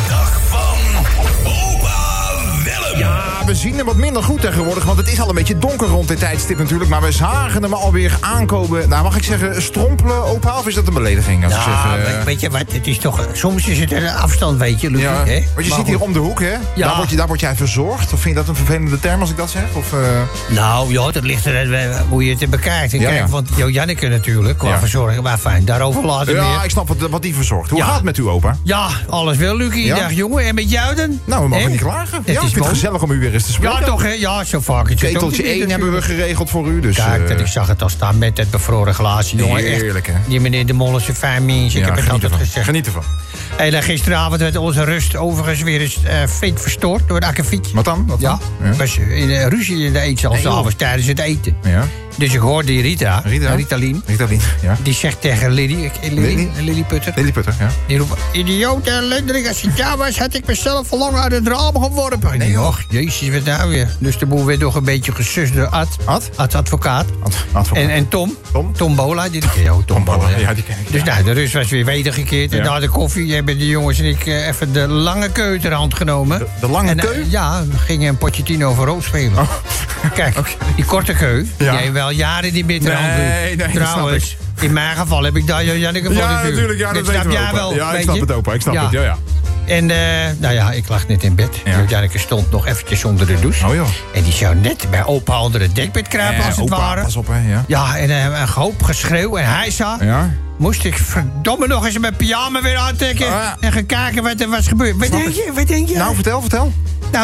Speaker 1: dag van Opa Willem.
Speaker 2: Ja, we zien hem wat minder goed tegenwoordig, want het is al een beetje donker rond dit tijdstip natuurlijk. Maar we zagen hem alweer aankomen. Nou, mag ik zeggen, strompelen, opa, of is dat een belediging? Als ik zeg,
Speaker 6: Ja,
Speaker 2: eh,
Speaker 6: maar weet je wat, het is toch, soms is het een afstand, weet je, Lucie,
Speaker 2: ja.
Speaker 6: hè?
Speaker 2: Want je zit hier om de hoek, hè?
Speaker 6: Ja.
Speaker 2: Daar, word je, daar word jij verzorgd. Of vind je dat een vervelende term als ik dat zeg? Of, eh,
Speaker 6: Nou, ja, dat ligt er eh, hoe je het bekijkt. En
Speaker 2: Ja,
Speaker 6: kijk,
Speaker 2: ja.
Speaker 6: want Jo Janneke natuurlijk, qua
Speaker 2: Ja.
Speaker 6: verzorging, maar fijn, daarover later
Speaker 2: ja,
Speaker 6: weer.
Speaker 2: ik snap wat, wat die verzorgt. Hoe
Speaker 6: Ja.
Speaker 2: gaat het met u, opa?
Speaker 6: Ja, alles wel, Lucie.
Speaker 2: Ja.
Speaker 6: Dag, jongen. En met jou dan?
Speaker 2: Nou, we mogen
Speaker 6: Hè?
Speaker 2: niet klagen.
Speaker 6: Het
Speaker 2: ja, ik
Speaker 6: is
Speaker 2: vind het
Speaker 6: mooi.
Speaker 2: gezellig om u weer eens te spreken.
Speaker 6: Ja, toch, hè? Ja, zo vaak. Het zit ook
Speaker 2: Keteltje
Speaker 6: niet in
Speaker 2: 1
Speaker 6: de
Speaker 2: hebben we geregeld voor u, dus...
Speaker 6: Kijk,
Speaker 2: eh,
Speaker 6: dat ik zag het al staan met het bevroren glaasje, jongen. Echt.
Speaker 2: Heerlijk, hè?
Speaker 6: Die meneer De Mol is een fijn mens. Ik
Speaker 2: Ja,
Speaker 6: heb het
Speaker 2: geniet
Speaker 6: altijd
Speaker 2: ervan.
Speaker 6: gezegd.
Speaker 2: Geniet ervan.
Speaker 6: Hey, dan gisteravond werd onze rust overigens weer eens eh flink verstoord door de akkefietje.
Speaker 2: Wat dan? Wat
Speaker 6: Ja,
Speaker 2: dan? Ja.
Speaker 6: was in, eh, ruzie in de eetzaal
Speaker 2: Nee, joh.
Speaker 6: s'avonds tijdens het eten.
Speaker 2: Ja.
Speaker 6: Dus ik hoorde die Rita,
Speaker 2: Rita?
Speaker 6: Liem,
Speaker 2: Ik dat niet, ja.
Speaker 6: die zegt tegen Lily, ik- Lily,
Speaker 2: Lily?
Speaker 6: Lily Putter.
Speaker 2: Lilliputter, ja.
Speaker 6: Die roept, idioot en lenderig, als ik daar was, had ik mezelf al lang uit het raam geworpen. Nee, och, jezus, wat nou weer. Dus de boel werd nog een beetje gesust door Ad.
Speaker 2: Ad?
Speaker 6: Ad, advocaat.
Speaker 2: Ad- advocaat.
Speaker 6: En, en Tom.
Speaker 2: Tom?
Speaker 6: Bola. Die, ja, Tom, Bola, ja.
Speaker 2: Ja, die ken ik.
Speaker 6: Dus nou, de rust was weer wedergekeerd. En
Speaker 2: Ja.
Speaker 6: na de koffie hebben de jongens en ik eh, even de lange keu ter hand genomen. De,
Speaker 2: de lange keu? Oh.
Speaker 6: ja, we gingen een Pochettino voor rood spelen. Kijk, die korte keu,
Speaker 2: Ja.
Speaker 6: die heeft wel jaren die bitter
Speaker 2: Nee,
Speaker 6: hand doet.
Speaker 2: nee, dat snap
Speaker 6: Trouwens, in mijn geval heb ik daar Janneke voor
Speaker 2: Ja,
Speaker 6: de duur.
Speaker 2: natuurlijk, ja, dat weten
Speaker 6: snap
Speaker 2: we,
Speaker 6: jij
Speaker 2: opa.
Speaker 6: wel.
Speaker 2: Ja, ik
Speaker 6: weet
Speaker 2: snap
Speaker 6: je?
Speaker 2: het, opa, ik snap het, ja, ja.
Speaker 6: En eh, nou ja, ik lag net in bed.
Speaker 2: Ja.
Speaker 6: Janneke stond nog eventjes onder de douche.
Speaker 2: Oh, joh.
Speaker 6: En die zou net bij opa onder het dekbed kruipen
Speaker 2: Eh,
Speaker 6: als het
Speaker 2: opa,
Speaker 6: ware.
Speaker 2: Pas op, hè, ja.
Speaker 6: Ja, en eh, een hoop geschreeuw en hijsa.
Speaker 2: Ja.
Speaker 6: Moest ik verdomme nog eens mijn pyjama weer aantrekken...
Speaker 2: Ah.
Speaker 6: en gaan kijken wat er was gebeurd. Wat denk je? Wat denk je?
Speaker 2: Nou,
Speaker 6: Nou,
Speaker 2: vertel, vertel.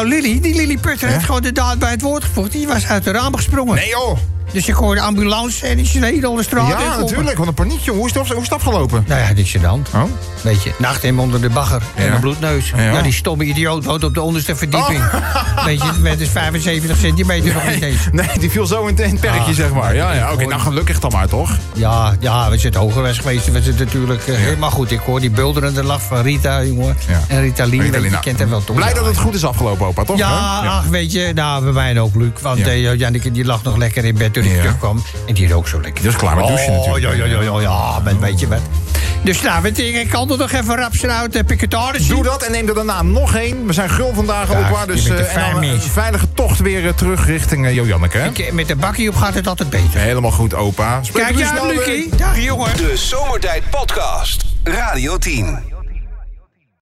Speaker 6: Lily, die Lily Putter heeft gewoon de daad bij het woord gevoegd. Die was uit de raam gesprongen.
Speaker 2: Nee, joh.
Speaker 6: Dus ik hoorde ambulance en die sneed onder de straat.
Speaker 2: Ja,
Speaker 6: heen komen.
Speaker 2: natuurlijk. Wat een paniek, joh. Hoe is het, op- hoe is het afgelopen?
Speaker 6: Nou ja, niks aan de hand.
Speaker 2: Oh.
Speaker 6: Weet je, nacht hem onder de bagger en
Speaker 2: Ja.
Speaker 6: een bloedneus.
Speaker 2: Ja. Oh.
Speaker 6: Ja. die stomme idioot woont op de onderste verdieping. Weet je, met dus 75 centimeter nog niet eens.
Speaker 2: Nee, die viel zo in het- in het perkje,
Speaker 6: Ah,
Speaker 2: zeg maar. Ja, ja. Oké, nou gelukkig dan maar, toch?
Speaker 6: Ja, ja, als je het hoger was geweest, was het natuurlijk eh, helemaal goed. Ik hoor die bulderende lach van Rita, jongen.
Speaker 2: Ja.
Speaker 6: En
Speaker 2: Rita
Speaker 6: Rita Lee, weet je,
Speaker 2: Lee,
Speaker 6: die
Speaker 2: nou,
Speaker 6: kent hem wel toch?
Speaker 2: Blij dat het goed is afgelopen, opa, toch?
Speaker 6: Ja,
Speaker 2: hè?
Speaker 6: ach, weet je, nou, bij mij ook, Luc. Want
Speaker 2: Ja.
Speaker 6: eh, Jo- Janneke die lag nog lekker in bed toen ik
Speaker 2: Ja.
Speaker 6: terugkwam. En die rook zo lekker.
Speaker 2: Die was klaar met douchen
Speaker 6: oh,
Speaker 2: natuurlijk.
Speaker 6: Ja, ja, ja, ja, ja, maar weet je wat. Dus nou, weet ik, ik kan er nog even rap uit de picketaris.
Speaker 2: Doe dat en neem er daarna nog één. We zijn gul vandaag ook waar. Dus
Speaker 6: je bent
Speaker 2: eh, en
Speaker 6: een
Speaker 2: dan
Speaker 6: fijn
Speaker 2: een
Speaker 6: mens.
Speaker 2: veilige tocht weer eh, terug richting eh, Jo-Janneke. hè?
Speaker 6: Ik- Met de bakkie op gaat het altijd beter.
Speaker 2: Helemaal goed, opa. Spreken
Speaker 6: Kijk
Speaker 2: we
Speaker 6: je
Speaker 2: snel
Speaker 6: uit,
Speaker 2: weer.
Speaker 6: Lucie. Dag, jongen.
Speaker 1: De Zomertijd Podcast. Radio 10.